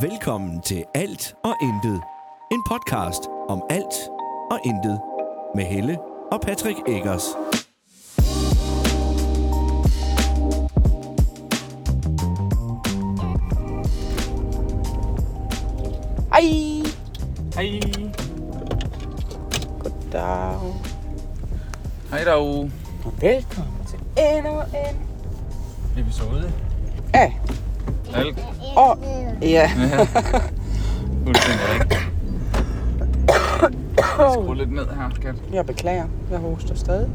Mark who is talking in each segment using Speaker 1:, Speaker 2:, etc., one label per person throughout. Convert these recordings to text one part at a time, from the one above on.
Speaker 1: Velkommen til Alt og Intet. En podcast om alt og intet. Med Helle og Patrick Eggers.
Speaker 2: Hej!
Speaker 3: Hej.
Speaker 2: Dag.
Speaker 3: Hej dog.
Speaker 2: Og velkommen til endnu en
Speaker 3: Episode.
Speaker 2: af
Speaker 3: Alt.
Speaker 2: år. Ja,
Speaker 3: Fuldstændig rigtigt. Skru lidt ned her, skat.
Speaker 2: jeg beklager. Jeg hoster stadig.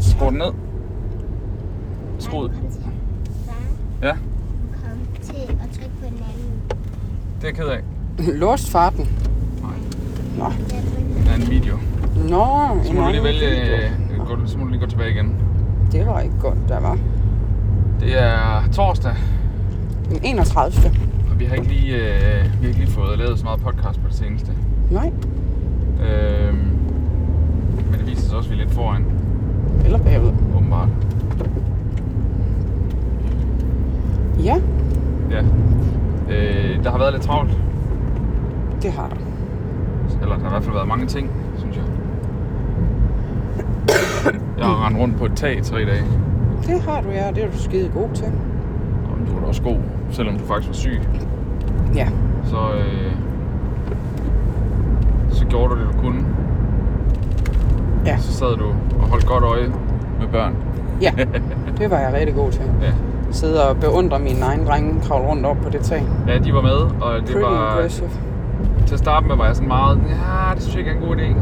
Speaker 3: Skru den ned. Skru. Ja,
Speaker 4: kom til at trykke på en anden.
Speaker 3: det er jeg ked af.
Speaker 2: Låst farten.
Speaker 3: Der er en video.
Speaker 2: Nå,
Speaker 3: Så
Speaker 2: en
Speaker 3: må du lige
Speaker 2: anden
Speaker 3: vælge,
Speaker 2: video.
Speaker 3: øh, gå, så må du lige gå tilbage igen.
Speaker 2: Det var ikke godt, der var.
Speaker 3: Det er torsdag,
Speaker 2: Den 31.
Speaker 3: og vi har ikke lige, øh, vi har ikke lige fået lavet så meget podcast på det seneste.
Speaker 2: Nej,
Speaker 3: Øh, men det viser sig også, at vi er lidt foran,
Speaker 2: eller bagud.
Speaker 3: åbenbart.
Speaker 2: Ja,
Speaker 3: Ja. Øh, der har været lidt travlt.
Speaker 2: det har der.
Speaker 3: Eller der har i hvert fald været mange ting, synes jeg. Jeg har rendt rundt på et tag i tre dage.
Speaker 2: Det har du, ja. Det er du skide god til.
Speaker 3: Og du var da også god, selvom du faktisk var syg.
Speaker 2: Ja,
Speaker 3: Så, øh, så gjorde du det, du kunne.
Speaker 2: Ja.
Speaker 3: Så sad du og holdt godt øje med børn.
Speaker 2: ja. Det var jeg rigtig god til.
Speaker 3: Ja,
Speaker 2: Sidde og beundre mine egne drenge kravle rundt op på det tag.
Speaker 3: ja de var med, og det
Speaker 2: Pretty
Speaker 3: var...
Speaker 2: impressive.
Speaker 3: Til at starte med var jeg sådan meget, ja, det synes jeg ikke er en god idé.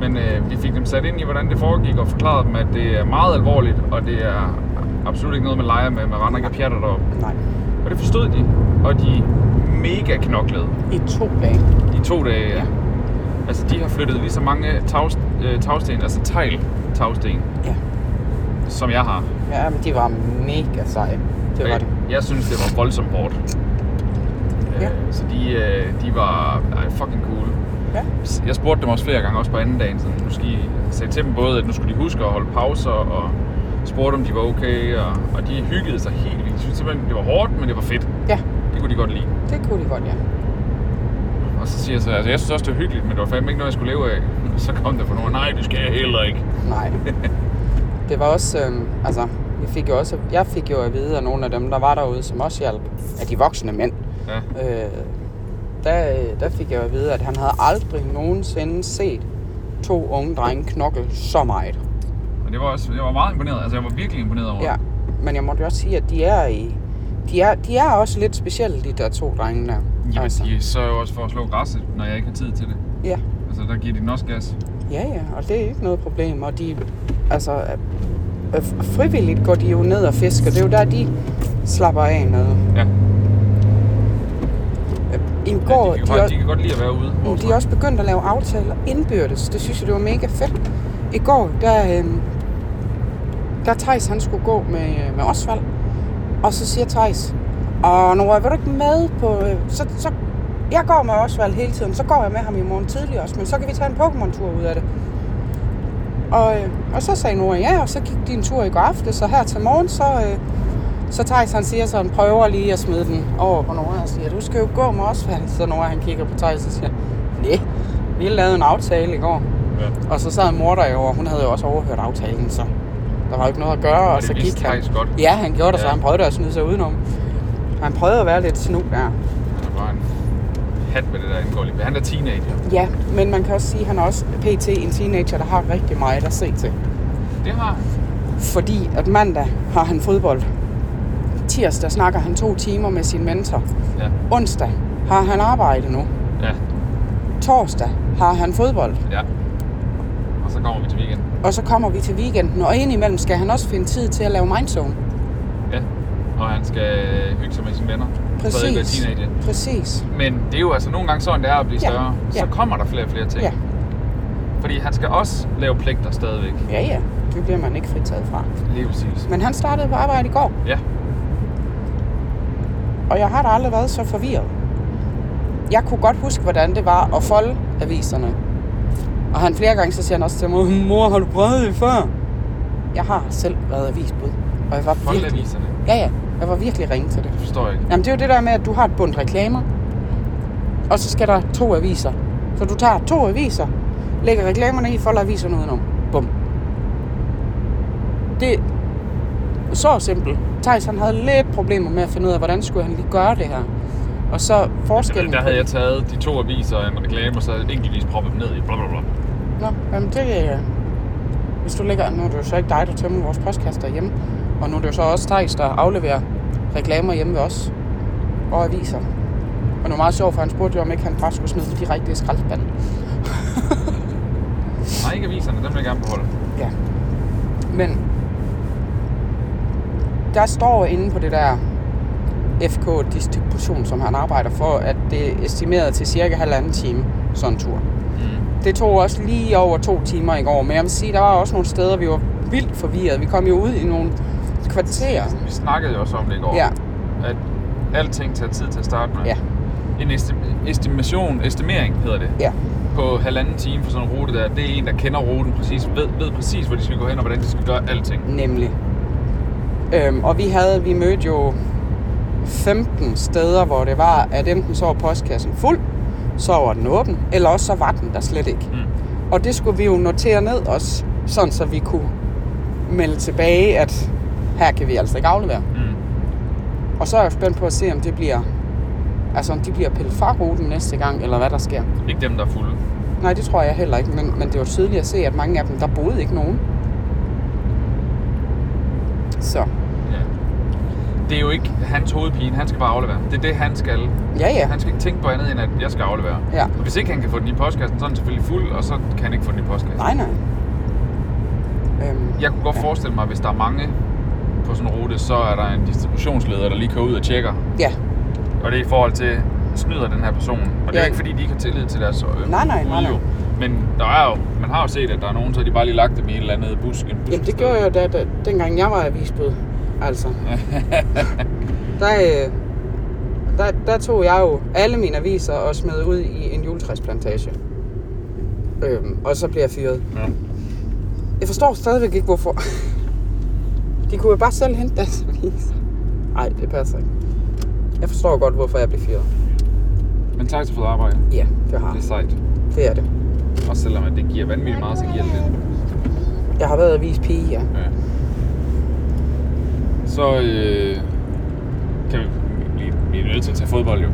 Speaker 3: Men øh, vi fik dem sat ind i, hvordan det foregik, og forklarede dem, at det er meget alvorligt, og det er absolut ikke noget, man leger med. Man render ikke og pjatter deroppe.
Speaker 2: Nej,
Speaker 3: Og det forstod de, og de mega knoklede
Speaker 2: i to dage.
Speaker 3: i to dage.
Speaker 2: Ja.
Speaker 3: Ja. Altså, de har flyttet lige så mange tagst, øh, tagsten, altså tegl tagsten,
Speaker 2: Ja.
Speaker 3: som jeg har.
Speaker 2: Ja, men de var mega seje. Det var
Speaker 3: Og
Speaker 2: det.
Speaker 3: jeg, jeg synes, det var voldsomt hårdt.
Speaker 2: Ja.
Speaker 3: Øh, så de, øh, de var ej, fucking cool.
Speaker 2: Ja.
Speaker 3: Jeg spurgte dem også flere gange, også på anden dagen, sådan, nu skal I, jeg sagde til dem både, at nu skulle de huske at holde pauser, og spurgte om de var okay, og, og de hyggede sig helt vildt. De syntes simpelthen, det var hårdt, men det var fedt.
Speaker 2: Ja,
Speaker 3: Det kunne de godt lide.
Speaker 2: det kunne de godt, ja.
Speaker 3: Og så siger jeg så, altså jeg synes også, det var hyggeligt, men det var fandme ikke noget, jeg skulle leve af. Så kom der for nogen, nej, det skal jeg heller ikke.
Speaker 2: Nej. Det var også, øh, altså, vi fik jo også, jeg fik jo at vide af nogle af dem, der var derude, som også hjalp, af de voksne mænd.
Speaker 3: Ja.
Speaker 2: Øh, der, øh, der fik jeg jo at vide, at han havde aldrig nogensinde set to unge drenge knokle så meget.
Speaker 3: Og det var også, jeg var meget imponeret, altså jeg var virkelig imponeret over
Speaker 2: Ja, men jeg måtte jo også sige, at de er i, de er, de er også lidt specielle, de der to drenge der.
Speaker 3: Jamen,
Speaker 2: altså.
Speaker 3: de sørger jo også for at slå græsset, når jeg ikke har tid til det.
Speaker 2: Ja.
Speaker 3: Altså, der giver de den også gas.
Speaker 2: Ja, ja, og det er ikke noget problem. Og de, altså, øh, øh, frivilligt går de jo ned og fisker. Det er jo der, de slapper af noget.
Speaker 3: Ja.
Speaker 2: I
Speaker 3: Ja,
Speaker 2: går,
Speaker 3: de,
Speaker 2: de,
Speaker 3: kan, faktisk-
Speaker 2: også,
Speaker 3: de kan godt lide at være ude.
Speaker 2: men de er også begyndt at lave aftaler indbyrdes. Det synes jeg, det var mega fedt. I går, der, øh, der Thijs, han skulle gå med, øh, med Osvald. Og så siger Thijs, og Nora, vil du ikke med på... øh, Så, så, jeg går med Osvald hele tiden, så går jeg med ham i morgen tidlig også, men så kan vi tage en Pokémon-tur ud af det. Og, øh, og så sagde Nora ja, og så gik de en tur i går aftes, så her til morgen, så, øh, så Thijs han siger sådan, prøver lige at smide den over på Nora og siger, du skal jo gå med Osvald. Så Nora han kigger på Thijs og siger, nej, vi lavede en aftale i går.
Speaker 3: Ja.
Speaker 2: Og så sad mor der jo, og hun havde jo også overhørt aftalen, så der var jo ikke noget at gøre, og
Speaker 3: det
Speaker 2: så
Speaker 3: vidste
Speaker 2: gik han.
Speaker 3: Thijs godt.
Speaker 2: Ja, han gjorde det, ja. så
Speaker 3: Ja.
Speaker 2: han prøvede at snyde sig udenom. Han prøvede at være lidt snu der.
Speaker 3: Han er bare en hat med det der indgår lige. Han er teenager.
Speaker 2: Ja, men man kan også sige, at han er også pt. en teenager, der har rigtig meget at se til.
Speaker 3: Det har han.
Speaker 2: Fordi at mandag har han fodbold. Tirsdag snakker han to timer med sin mentor.
Speaker 3: Ja.
Speaker 2: Onsdag har han arbejde nu.
Speaker 3: Ja.
Speaker 2: Torsdag har han fodbold.
Speaker 3: ja. Og så kommer vi til weekend.
Speaker 2: Og så kommer vi til weekenden, og indimellem skal han også finde tid til at lave mindzone.
Speaker 3: Ja. Og han skal hygge sig med sine venner. Stadig være
Speaker 2: Præcis.
Speaker 3: teenager.
Speaker 2: Præcis.
Speaker 3: Men det er jo altså nogle gange sådan, det er at blive
Speaker 2: Ja.
Speaker 3: større. Så
Speaker 2: Ja.
Speaker 3: kommer der flere og flere ting.
Speaker 2: Ja.
Speaker 3: Fordi han skal også lave pligter stadigvæk.
Speaker 2: Ja, ja. Det bliver man ikke fritaget fra.
Speaker 3: Lige præcis.
Speaker 2: Men han startede på arbejde i går.
Speaker 3: Ja.
Speaker 2: Og jeg har da aldrig været så forvirret. Jeg kunne godt huske, hvordan det var at folde aviserne. Og han flere gange, så siger han også til mig, mor, har du prøvet det før? Jeg har selv været avisbud. Og jeg var virkelig...
Speaker 3: Folkeaviserne.
Speaker 2: Ja, ja. Jeg var virkelig ringe til det.
Speaker 3: Det forstår jeg ikke.
Speaker 2: Jamen det er jo det der med, at du har et bund reklamer, og så skal der to aviser. Så du tager to aviser, lægger reklamerne i, folder aviserne udenom. Bum. Det er så simpelt. Thijs han havde lidt problemer med at finde ud af, hvordan skulle han lige gøre det her. Og så forskellen...
Speaker 3: Der
Speaker 2: på-
Speaker 3: havde jeg taget de to aviser og en reklame, og så enkeltvis proppet dem ned i blablabla.
Speaker 2: Nå, jamen det er... Hvis du ligger... Nu er det jo så ikke dig, der tømmer vores postkasse derhjemme. Og nu er det jo så også Thijs, der afleverer reklamer hjemme ved os. Og aviser. Og det var meget sjovt, for han spurgte jo, om ikke han bare skulle smide det direkte i skraldespanden.
Speaker 3: Nej, ikke aviserne, dem vil jeg gerne beholde.
Speaker 2: Ja. Men der står inde på det der FK-distribution, som han arbejder for, at det er estimeret til cirka halvanden time sådan en tur. Det tog også lige over to timer i går, men jeg vil sige, der var også nogle steder, vi var vildt forvirrede. Vi kom jo ud i nogle kvarterer.
Speaker 3: Vi snakkede jo også om det i går.
Speaker 2: Ja.
Speaker 3: At alting tager tid til at starte med.
Speaker 2: Ja,
Speaker 3: En esti- estimation, estimering hedder det,
Speaker 2: ja,
Speaker 3: på halvanden time for sådan en rute der. Det er en, der kender ruten præcis, ved, ved præcis, hvor de skal gå hen og hvordan de skal gøre alting.
Speaker 2: nemlig. Øhm, og vi havde, vi mødte jo 15 steder, hvor det var, at enten så var postkassen fuld, så var den åben, eller også så var den der slet ikke.
Speaker 3: Mm.
Speaker 2: Og det skulle vi jo notere ned os, sådan så vi kunne melde tilbage, at her kan vi altså ikke aflevere.
Speaker 3: Mm.
Speaker 2: Og så er jeg jo spændt på at se, om det bliver, altså om de bliver pillet fra ruten næste gang, eller hvad der sker.
Speaker 3: Ikke dem, der er fulde.
Speaker 2: Nej, det tror jeg heller ikke, men, men det var tydeligt at se, at mange af dem, der boede ikke nogen. Så,
Speaker 3: Ja. Det er jo ikke hans hovedpine, han skal bare aflevere. Det er det, han skal.
Speaker 2: ja ja,
Speaker 3: Han skal ikke tænke på andet, end at jeg skal aflevere.
Speaker 2: Ja.
Speaker 3: Og hvis ikke han kan få den i postkassen, så er den selvfølgelig fuld, og så kan han ikke få den i postkassen.
Speaker 2: nej nej. Øhm,
Speaker 3: Jeg kunne godt
Speaker 2: ja.
Speaker 3: forestille mig, at hvis der er mange på sådan en rute, så er der en distributionsleder, der lige kører ud og tjekker.
Speaker 2: Ja,
Speaker 3: Og det er i forhold til, snyder den her person? Og det
Speaker 2: Ja.
Speaker 3: er jo ikke fordi, de ikke har tillid til deres øh,
Speaker 2: Nej, nej,
Speaker 3: ude
Speaker 2: nej, nej.
Speaker 3: jo. Men der er jo, man har jo set, at der er nogen, så har de bare lige lagt dem i et eller andet busk. En busk
Speaker 2: Jamen det gjorde jeg jo, da, da, dengang jeg var avisbud. Altså. der, øh, der, der tog jeg jo alle mine aviser og smed ud i en juletræsplantage. Øhm, og så blev jeg fyret.
Speaker 3: Ja.
Speaker 2: Jeg forstår stadigvæk ikke, hvorfor. De kunne jo bare selv hente deres aviser. Nej, det passer ikke. Jeg forstår godt, hvorfor jeg blev fyret.
Speaker 3: Men tak til fået arbejde.
Speaker 2: Ja, det har
Speaker 3: Det er sejt.
Speaker 2: Det er det.
Speaker 3: Og selvom at det giver vanvittigt meget, så giver det lidt.
Speaker 2: Jeg har været avispige, ja.
Speaker 3: Ja. Så øh, kan vi, vi, vi er nødt til at tage fodbold jo.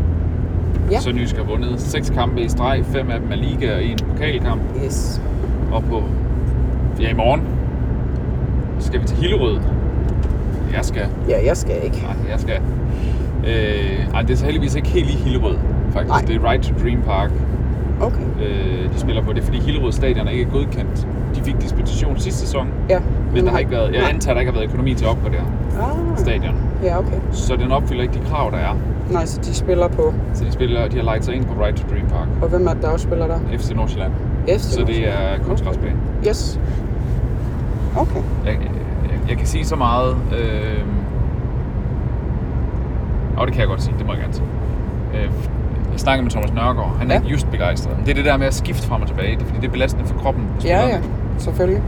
Speaker 2: Ja.
Speaker 3: Sønderjysk har vundet seks kampe i streg, fem af dem er liga og en pokalkamp.
Speaker 2: Yes.
Speaker 3: Og på, ja i morgen, skal vi til Hillerød. Jeg skal.
Speaker 2: Ja, jeg skal ikke.
Speaker 3: Nej, jeg skal. Øh, ej, det er så heldigvis ikke helt i Hillerød, faktisk.
Speaker 2: Nej.
Speaker 3: Det er Right to Dream Park,
Speaker 2: Okay.
Speaker 3: øh, de spiller på. Det er fordi Hillerød stadion er ikke godkendt. De fik dispensation sidste sæson,
Speaker 2: Ja.
Speaker 3: men der har ikke været, jeg antager, der ikke har været økonomi til at opgradere
Speaker 2: ah.
Speaker 3: stadion.
Speaker 2: Ja, okay.
Speaker 3: Så den opfylder ikke de krav, der er.
Speaker 2: Nej, så de spiller på.
Speaker 3: Så de, spiller, de har lagt sig ind på Right to Dream Park,
Speaker 2: Og hvem er det, der også spiller der?
Speaker 3: FC Nordsjælland.
Speaker 2: Yes,
Speaker 3: Så det er kunstgræsbane.
Speaker 2: Yes. Okay.
Speaker 3: Jeg, jeg, jeg kan sige så meget. Øh... Og det kan jeg godt sige, det må jeg gerne sige. Øh, jeg snakkede med Thomas Nørgaard, han er
Speaker 2: Ja.
Speaker 3: ja. ikke just begejstret. Men det er det der med at skifte frem og tilbage, det er, fordi det er belastende for kroppen. på
Speaker 2: Ja,
Speaker 3: spillerne.
Speaker 2: ja. Selvfølgelig.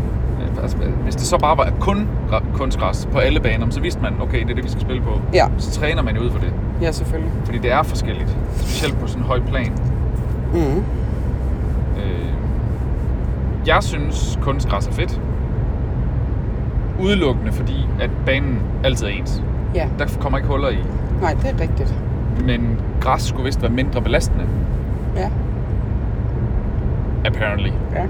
Speaker 3: Øh, altså, Hvis det så bare var kun gra- kunstgræs på alle baner, så vidste man, okay, det er det, vi skal spille på.
Speaker 2: Ja.
Speaker 3: Så træner man jo ud for det,
Speaker 2: Ja, selvfølgelig.
Speaker 3: fordi det er forskelligt. Specielt på sådan en høj plan.
Speaker 2: Mm.
Speaker 3: Øh, jeg synes, kunstgræs er fedt. Udelukkende fordi, at banen altid er ens.
Speaker 2: Ja.
Speaker 3: Der kommer ikke huller i.
Speaker 2: Nej, det er rigtigt.
Speaker 3: Men græs skulle vist være mindre belastende,
Speaker 2: Ja.
Speaker 3: apparently.
Speaker 2: Ja.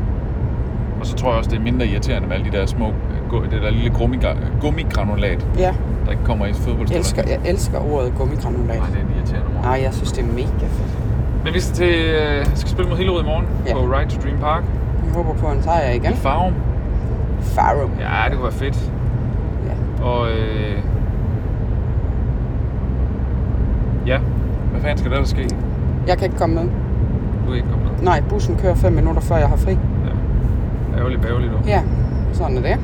Speaker 3: Og så tror jeg også, det er mindre irriterende med alle de der små, øh, gu- det der lille gummigra- gummigranulat,
Speaker 2: Ja.
Speaker 3: der ikke kommer i
Speaker 2: Jeg
Speaker 3: fodboldstøvler.
Speaker 2: elsker, jeg elsker ordet gummigranulat.
Speaker 3: Nej, det er en irriterende ord.
Speaker 2: Nej, jeg synes, det er mega fedt.
Speaker 3: Men vi skal, til, øh, skal spille mod Hillerød i morgen
Speaker 2: Ja.
Speaker 3: ja. på Ride to Dream Park.
Speaker 2: Jeg håber på en sejr igen.
Speaker 3: I Farum.
Speaker 2: Farum.
Speaker 3: Ja, det kunne være fedt.
Speaker 2: Ja.
Speaker 3: Og øh... Ja, hvad fanden skal der ellers ske?
Speaker 2: Jeg kan ikke komme med.
Speaker 3: Du kan ikke komme med.
Speaker 2: Nej, bussen kører 5 minutter, før jeg har fri.
Speaker 3: Ja. Ærgerligt bævligt nu.
Speaker 2: Ja, sådan er det.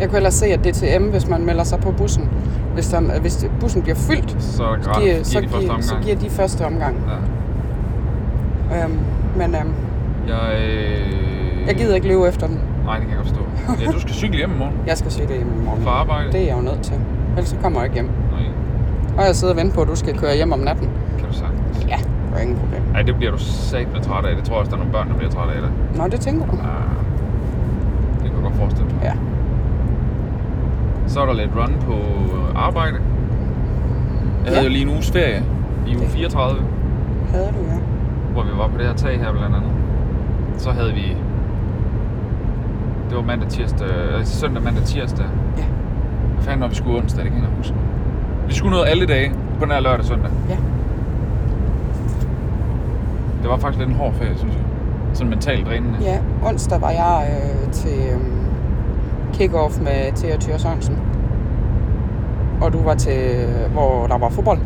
Speaker 2: Jeg kunne ellers se, at DTM, hvis man melder sig på bussen, hvis, der, hvis bussen bliver fyldt,
Speaker 3: Så er det gratis.
Speaker 2: giver,
Speaker 3: Giver,
Speaker 2: så,
Speaker 3: de første
Speaker 2: giver, så
Speaker 3: omgang.
Speaker 2: giver de første omgang.
Speaker 3: Ja.
Speaker 2: Øhm, men øhm,
Speaker 3: Jeg, øh...
Speaker 2: jeg gider ikke løbe efter den.
Speaker 3: Nej, det kan jeg godt forstå. Ja, du skal cykle hjem i morgen
Speaker 2: Jeg skal se det i morgen.
Speaker 3: fra arbejde.
Speaker 2: Det er jeg jo nødt til. Ellers så kommer jeg ikke hjem.
Speaker 3: Nej.
Speaker 2: Og jeg sidder og venter på, at du skal køre hjem om natten.
Speaker 3: kan du sagtens.
Speaker 2: Ja, det var ingen problem.
Speaker 3: Ej, det bliver du satme træt af. Det tror jeg også, der er nogle børn, der bliver træt af det.
Speaker 2: Nå, det tænker du.
Speaker 3: Ah, det kan jeg godt forestille mig.
Speaker 2: Ja.
Speaker 3: Så er der lidt run på øh, arbejde. Jeg havde
Speaker 2: Ja.
Speaker 3: jo lige en uges ferie i uge
Speaker 2: Det-
Speaker 3: 34,
Speaker 2: Havde du, ja.
Speaker 3: hvor vi var på det her tag her blandt andet. Så havde vi... Det var mandag, tirsdag... øh, Søndag, mandag, tirsdag.
Speaker 2: Ja.
Speaker 3: Hvad fanden var vi skulle onsdag? Det kan jeg ikke huske. Vi skulle noget alle dage på den her lørdag og søndag.
Speaker 2: Ja.
Speaker 3: Det var faktisk lidt en hård ferie, synes jeg. Sådan mentalt drænende.
Speaker 2: Ja, onsdag var jeg øh, til øh, kick-off med Thea Thyre Sørensen. Og du var til, hvor der var fodbold.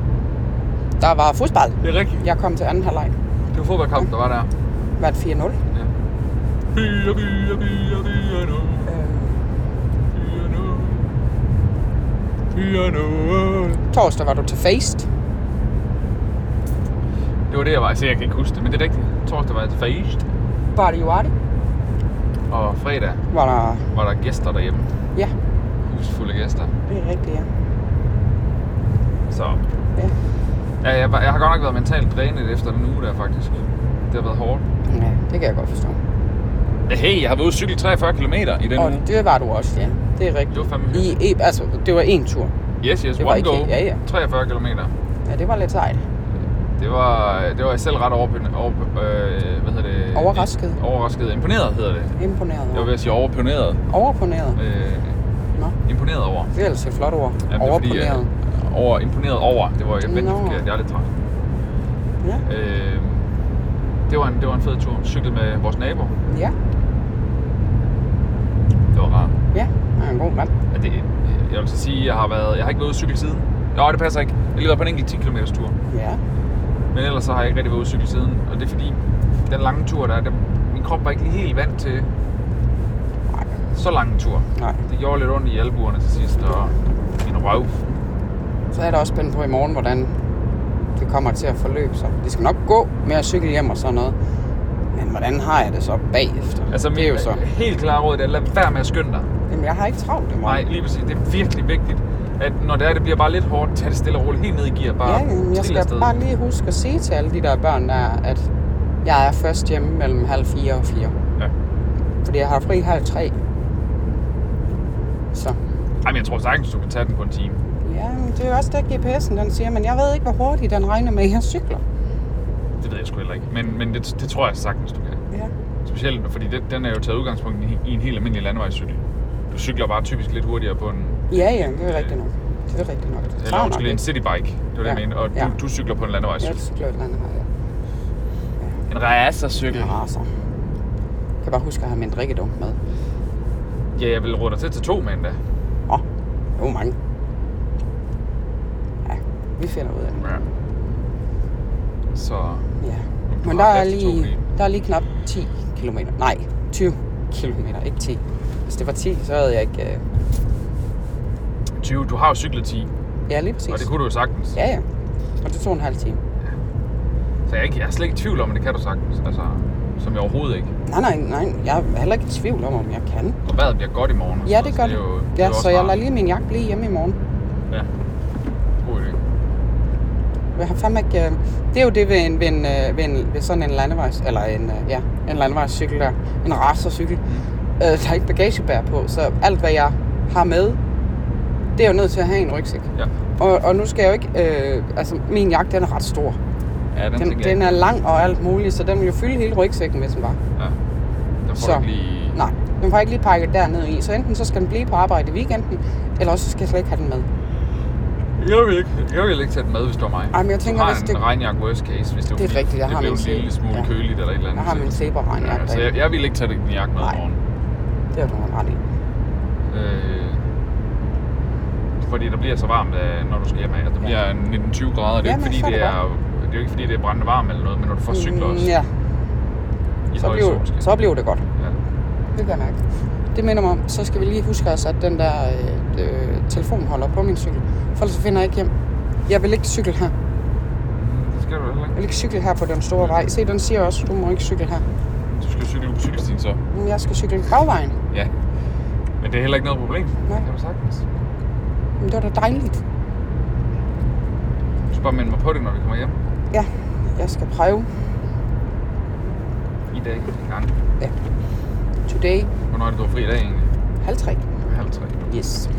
Speaker 2: Der var fodbold.
Speaker 3: Det er rigtigt.
Speaker 2: Jeg kom til anden halvleg.
Speaker 3: Det var fodboldkamp, der var der.
Speaker 2: Var det 4-0?
Speaker 3: Ja. Byer, byer, byer, byer nu.
Speaker 2: Øh,
Speaker 3: Byer nu. Byer nu.
Speaker 2: torsdag var du til Faced.
Speaker 3: Det var det, jeg var. Så jeg kan ikke huske det, men det er rigtigt. Torsdag var jeg til Faist,
Speaker 2: Var det Juardi?
Speaker 3: og fredag
Speaker 2: Var der...
Speaker 3: var der gæster derhjemme.
Speaker 2: Ja,
Speaker 3: Husfulde gæster.
Speaker 2: det er rigtigt, ja.
Speaker 3: Så
Speaker 2: Ja.
Speaker 3: ja, jeg, var- jeg har godt nok været mentalt drænet efter den uge der, faktisk. Det har været hårdt.
Speaker 2: ja det kan jeg godt forstå.
Speaker 3: Hey, jeg har været ude at cykle 43 km i den
Speaker 2: Og
Speaker 3: uge.
Speaker 2: det var du også, ja. Det er
Speaker 3: Det
Speaker 2: rigtigt.
Speaker 3: var fandme
Speaker 2: I,
Speaker 3: hyggeligt.
Speaker 2: e- altså, det var en tur.
Speaker 3: Yes, yes,
Speaker 2: det var
Speaker 3: one
Speaker 2: ikke-
Speaker 3: go.
Speaker 2: ja, ja.
Speaker 3: 43 km.
Speaker 2: Ja, det var lidt sejt.
Speaker 3: Det var, det var jeg selv ret over, over, øh, hvad hedder det?
Speaker 2: Overrasket.
Speaker 3: Overrasket. Imponeret hedder det.
Speaker 2: Imponeret.
Speaker 3: Jeg var ved at sige overponeret.
Speaker 2: Overponeret.
Speaker 3: Øh,
Speaker 2: Nå,
Speaker 3: imponeret over.
Speaker 2: det er altså et flot ord.
Speaker 3: Jamen, det er fordi,
Speaker 2: Overponeret.
Speaker 3: øh, over, imponeret over. Det var jeg vældig
Speaker 2: Nå.
Speaker 3: forkert. Jeg er lidt træt.
Speaker 2: Ja.
Speaker 3: Øh, det, var en, det var en fed tur. Cyklede med vores nabo.
Speaker 2: Ja,
Speaker 3: Det var rart.
Speaker 2: ja. Han er en god mand.
Speaker 3: Ja, det, øh, jeg vil så sige, jeg har, været, jeg har ikke været ude at cykle siden. Nå, det passer ikke. Jeg har lige været på en enkelt 10 km tur.
Speaker 2: Ja.
Speaker 3: Men ellers så har jeg ikke rigtig været ude at cykle siden. Og det er fordi, den lange tur der, er, den, min krop var ikke lige helt vant til
Speaker 2: Nej,
Speaker 3: så lang en tur.
Speaker 2: nej.
Speaker 3: Det gjorde lidt ondt i albuerne til sidst, og min røv.
Speaker 2: Så er der også spændt på i morgen, hvordan det kommer til at forløbe sig. Det skal nok gå med at cykle hjem og sådan noget. Men hvordan har jeg det så bagefter?
Speaker 3: Altså,
Speaker 2: det er jo så.
Speaker 3: helt klare råd, det er, lad være med at skynde dig.
Speaker 2: Jamen, jeg har ikke travlt i
Speaker 3: Nej,
Speaker 2: morgen.
Speaker 3: lige præcis. Det er virkelig vigtigt, at når det er, det bliver bare lidt hårdt, tag det stille og roligt helt ned i gear. Bare
Speaker 2: Ja, jamen, jeg
Speaker 3: tril
Speaker 2: skal
Speaker 3: afsted.
Speaker 2: bare lige huske at sige til alle de der børn der, at jeg er først hjemme mellem halv fire og fire.
Speaker 3: Ja.
Speaker 2: Fordi jeg har fri halv tre. Så.
Speaker 3: Jamen, jeg tror sagtens, du kan tage den på en time.
Speaker 2: Ja, men det er jo også det, GPS'en den siger, men jeg ved ikke, hvor hurtigt den regner med, at jeg cykler.
Speaker 3: Det ved jeg sgu heller ikke. Men, men det, det tror jeg sagtens, du kan.
Speaker 2: Ja.
Speaker 3: Specielt, fordi det, den er jo taget udgangspunkt i, i en helt almindelig landevejscykel. Du cykler bare typisk lidt hurtigere på en...
Speaker 2: Ja, ja, det er rigtigt nok. Det er rigtigt nok. Det
Speaker 3: Eller
Speaker 2: tager nok
Speaker 3: undskyld, en
Speaker 2: lidt.
Speaker 3: citybike. Det var det,
Speaker 2: Ja,
Speaker 3: jeg mente. Og
Speaker 2: ja.
Speaker 3: du, du cykler på en
Speaker 2: Jeg
Speaker 3: landevejscykel.
Speaker 2: cykler et eller andet her, ja.
Speaker 3: En racercykel.
Speaker 2: Jeg raser. Jeg kan bare huske at have min drikkedunk med.
Speaker 3: Ja, jeg vil råde dig til til to mandag.
Speaker 2: Åh, oh, det var mange. Ja, vi finder ud af det.
Speaker 3: Ja. Så
Speaker 2: Ja.
Speaker 3: Du
Speaker 2: Men
Speaker 3: har
Speaker 2: der er,
Speaker 3: plads til to
Speaker 2: lige,
Speaker 3: biler.
Speaker 2: der er lige knap 10 km. Nej, 20 km, ikke 10. Hvis det var 10, så havde jeg ikke... Øh...
Speaker 3: 20, du har jo cyklet 10,
Speaker 2: Ja, lige præcis.
Speaker 3: og det kunne du jo sagtens.
Speaker 2: Ja, ja. Og det tog en halv time.
Speaker 3: Så jeg er, ikke, jeg er slet ikke i tvivl om, at det kan du sagtens. Altså, som jeg overhovedet ikke.
Speaker 2: Nej, nej, nej. Jeg er heller ikke i tvivl om, om jeg kan.
Speaker 3: Og vejret bliver godt i morgen. og
Speaker 2: Ja,
Speaker 3: sådan
Speaker 2: det gør
Speaker 3: noget, så er jo-
Speaker 2: det.
Speaker 3: det
Speaker 2: Ja,
Speaker 3: er jo
Speaker 2: så
Speaker 3: også
Speaker 2: jeg
Speaker 3: rart.
Speaker 2: lader lige min jakke blive hjemme i morgen.
Speaker 3: Ja. God idé.
Speaker 2: Jeg har fandme ikke, øh, det er jo det ved, en, ved, en, øh, ved, en, ved sådan en landevejs, eller en, øh, ja, en landevejscykel der, en racercykel,
Speaker 3: Mm.
Speaker 2: øh, der er ikke bagagebær på, så alt hvad jeg har med, det er jo nødt til at have i en rygsæk.
Speaker 3: Ja,
Speaker 2: Og, og nu skal jeg jo ikke, øh, altså min jakke den er ret stor,
Speaker 3: ja den,
Speaker 2: den,
Speaker 3: tænker jeg.
Speaker 2: den er lang og alt muligt, så den vil jo fylde hele rygsækken, hvis den var.
Speaker 3: Ja. Den får
Speaker 2: Så.
Speaker 3: du ikke lige...
Speaker 2: Nej, den får jeg ikke lige pakket dernede i, så enten så skal den blive på arbejde i weekenden, eller også så skal jeg slet ikke have den med.
Speaker 3: Jeg vil ikke, jeg vil ikke tage den med, hvis du er mig.
Speaker 2: Ej, men jeg tænker,
Speaker 3: du har
Speaker 2: hvis
Speaker 3: en
Speaker 2: det-
Speaker 3: regnjakke worst case, hvis det,
Speaker 2: Det er
Speaker 3: fordi,
Speaker 2: rigtigt, jeg
Speaker 3: det
Speaker 2: har
Speaker 3: blev
Speaker 2: min
Speaker 3: en lille
Speaker 2: se-
Speaker 3: smule
Speaker 2: ja.
Speaker 3: køligt eller et eller andet.
Speaker 2: Jeg har
Speaker 3: så-
Speaker 2: min
Speaker 3: ja,
Speaker 2: Zebraregnjakke
Speaker 3: så jeg, jeg vil ikke tage den jakke med i
Speaker 2: Nej.
Speaker 3: morgen.
Speaker 2: Det er du nok ret i.
Speaker 3: Øh, fordi der bliver så varmt, øh, når du skal hjem af. Altså, der bliver 19-20 grader, og det er,
Speaker 2: Jamen,
Speaker 3: ikke, fordi,
Speaker 2: så er
Speaker 3: det,
Speaker 2: det Mm,
Speaker 3: er, det er jo ikke fordi, det er brændende varmt eller noget, men når du får cykler også
Speaker 2: ja,
Speaker 3: i
Speaker 2: så
Speaker 3: høj
Speaker 2: blev,
Speaker 3: solskin.
Speaker 2: så blev det godt.
Speaker 3: Ja.
Speaker 2: Det kan jeg mærke. Det minder mig om, så skal vi lige huske at sætte den der øh, øh, telefonholder på min cykel. For ellers så finder jeg ikke hjem. Jeg vil ikke cykle her.
Speaker 3: Det skal du heller
Speaker 2: Jeg
Speaker 3: ikke.
Speaker 2: vil ikke cykle her på den store vej. Se, den siger også, du må ikke cykle her.
Speaker 3: Du skal cykle på cykelstien så.
Speaker 2: Men jeg skal cykle bagvejen.
Speaker 3: Ja. Men det er heller ikke noget problem.
Speaker 2: Nej.
Speaker 3: Det kan du sagtens.
Speaker 2: Men det var da dejligt.
Speaker 3: bare minde mig på det, når vi kommer hjem
Speaker 2: Ja, jeg skal prøve
Speaker 3: i dag en gang.
Speaker 2: today
Speaker 3: Hvornår er det, du har fri i dag egentlig?
Speaker 2: halv tre.
Speaker 3: Halv tre.
Speaker 2: Yes.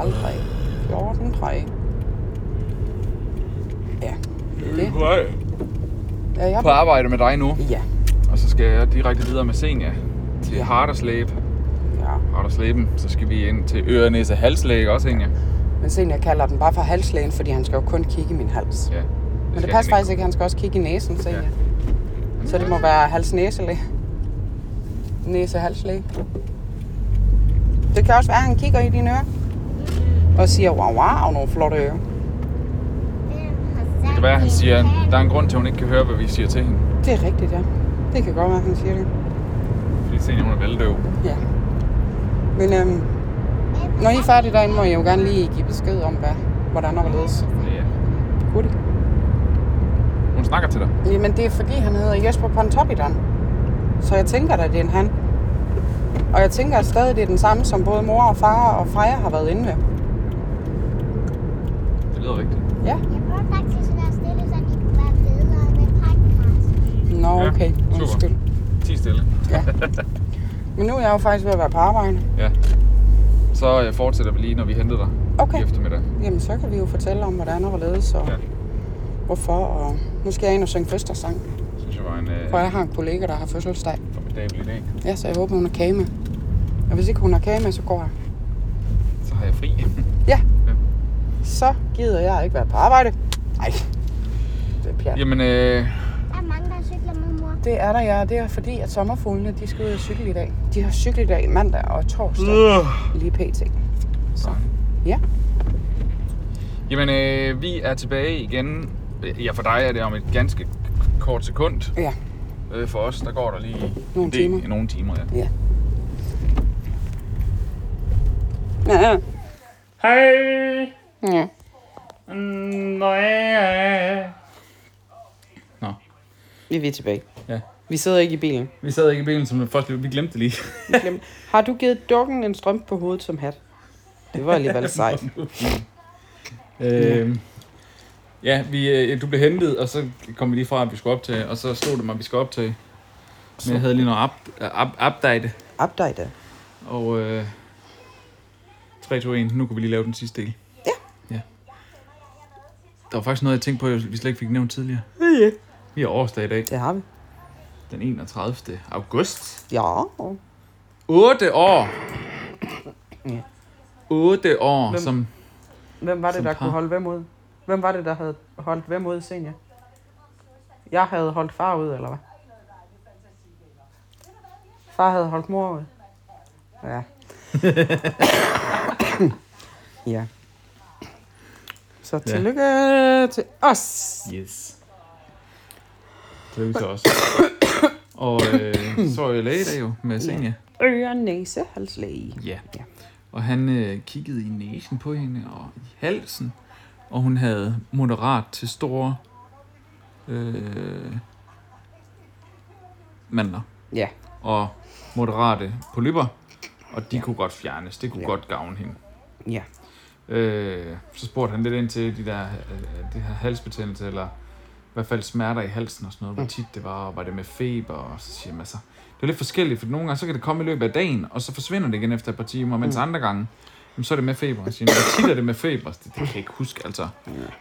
Speaker 2: Halv tre. 14 tre. Ja, det er det. Ja,
Speaker 3: På
Speaker 2: jeg...
Speaker 3: arbejde med dig nu,
Speaker 2: Ja,
Speaker 3: og så skal jeg direkte videre med Senja til Harderslæb.
Speaker 2: ja.
Speaker 3: Harderslæben, så skal vi ind til Ørenæse Halslæg også, Inge.
Speaker 2: Men sen jeg kalder den bare for halslægen, fordi han skal jo kun kigge i min hals.
Speaker 3: Ja.
Speaker 2: Men det passer faktisk ikke, altså. han skal også kigge i næsen, sen
Speaker 3: Ja.
Speaker 2: jeg. Så det må være halsnæselæge. Næse-halslæge. Det kan også være, at han kigger i dine ører og siger, wow, wow, nogle flotte ører.
Speaker 3: Det kan være, han siger, at der er en grund til, at hun ikke kan høre, hvad vi siger til hende.
Speaker 2: Det er rigtigt, ja. Det kan godt være, han siger det.
Speaker 3: Fordi Senja, hun er veldøv.
Speaker 2: Ja. Men øhm, når I er færdige derinde, må I jo gerne lige give besked om, hvad, hvordan og hvorledes.
Speaker 3: Ja.
Speaker 2: Hurtigt.
Speaker 3: Hun snakker til dig.
Speaker 2: Jamen, det er fordi, han hedder Jesper Pontoppidan. Så jeg tænker da, det er en han. Og jeg tænker stadig, det er den samme, som både mor og far og Freja har været inde ved.
Speaker 3: Det lyder rigtigt.
Speaker 2: Ja.
Speaker 4: Jeg prøver faktisk at være stille, så de kunne være bedre med podcast.
Speaker 2: Nå,
Speaker 3: Ja,
Speaker 2: okay.
Speaker 3: super.
Speaker 2: Undskyld.
Speaker 3: Ti stille.
Speaker 2: Ja. Men nu er jeg jo faktisk ved at være på arbejde.
Speaker 3: Ja. Så øh, fortsætter vi lige, når vi henter dig
Speaker 2: Okay.
Speaker 3: i eftermiddag.
Speaker 2: Jamen, så kan vi jo fortælle om, hvordan og hvorledes og
Speaker 3: Ja.
Speaker 2: hvorfor. Og nu skal jeg ind og synge fødselsdagssang,
Speaker 3: Det synes jeg var en
Speaker 2: for
Speaker 3: øh,
Speaker 2: jeg har en kollega, der har fødselsdag.
Speaker 3: formidabel idé.
Speaker 2: Ja, så jeg håber, hun har kage med. Og hvis ikke hun har kage med, så går jeg.
Speaker 3: Så har jeg fri.
Speaker 2: Så gider jeg ikke være på arbejde. Nej, det er pjat.
Speaker 3: Jamen, øh,
Speaker 4: Der er mange, der cykler med mor.
Speaker 2: Det er der, ja. Det er fordi, at sommerfuglene, de skal ud og cykle i dag. De har cykeldag i mandag og torsdag
Speaker 3: øh.
Speaker 2: lige pt.
Speaker 3: Så.
Speaker 2: Ja.
Speaker 3: Jamen, øh, vi er tilbage igen. Øh, Ja, for dig er det om et ganske k- kort sekund.
Speaker 2: Ja.
Speaker 3: Øh, for os, der går der lige
Speaker 2: Nogle
Speaker 3: en del,
Speaker 2: timer.
Speaker 3: Nogle timer, ja.
Speaker 2: Ja,
Speaker 5: Hej.
Speaker 2: ja.
Speaker 5: Mm, Nej.
Speaker 2: Vi er tilbage.
Speaker 3: Ja.
Speaker 2: Vi sidder ikke i bilen.
Speaker 3: Vi sad ikke i bilen, som først vi glemte det lige.
Speaker 2: Vi glemte- Har du givet dukken en strømpe på hovedet som hat? Det var alligevel sejt. Øhm.
Speaker 3: øh, ja, vi, øh, du blev hentet, og så kom vi lige fra, at vi skulle op til, og så stod det mig, at vi skulle op til. Men jeg havde lige noget up, up, update,
Speaker 2: Update.
Speaker 3: og øh, 3, 2, 1, nu kan vi lige lave den sidste del.
Speaker 2: Ja.
Speaker 3: ja. Der var faktisk noget, jeg tænkte på, jeg- vi slet ikke fik nævnt tidligere.
Speaker 2: Ja.
Speaker 3: Vi har årsdag i dag,
Speaker 2: Det har vi.
Speaker 3: den 31. august.
Speaker 2: Ja.
Speaker 3: 8 år!
Speaker 2: Ja.
Speaker 3: 8 år,
Speaker 2: Hvem-
Speaker 3: som...
Speaker 2: Hvem var det,
Speaker 3: Som
Speaker 2: der
Speaker 3: par.
Speaker 2: kunne holde hvem ud? Hvem var det, der havde holdt hvem ud, senior? Jeg havde holdt far ud, eller hvad? Far havde holdt mor ud. Ja. ja. Så tillykke ja. til os.
Speaker 3: Yes. Tillykke til os. Og øh, så var jeg læge i dag jo med Senja.
Speaker 2: Øre, næse, halslæge.
Speaker 3: Ja.
Speaker 2: Ja.
Speaker 3: Og han øh, kiggede i næsen på hende og i halsen. Og hun havde moderat til store øh, mandler
Speaker 2: Ja.
Speaker 3: og moderate polypper. Og de ja. kunne godt fjernes. Det kunne ja. godt gavne hende.
Speaker 2: Ja.
Speaker 3: Øh, så spurgte han lidt ind til de der, øh, det her halsbetændelse, eller i hvert fald smerter i halsen og sådan
Speaker 2: Mm.
Speaker 3: noget, hvor tit det var, og var det med feber, og så siger man altså, det er lidt forskelligt, for nogle gange, så kan det komme i løbet af dagen, og så forsvinder det igen efter et par timer,
Speaker 2: Mm.
Speaker 3: mens andre gange, jamen, så er det med feber. Og siger, hvor tit er det med feber? Det, det kan jeg ikke huske, altså.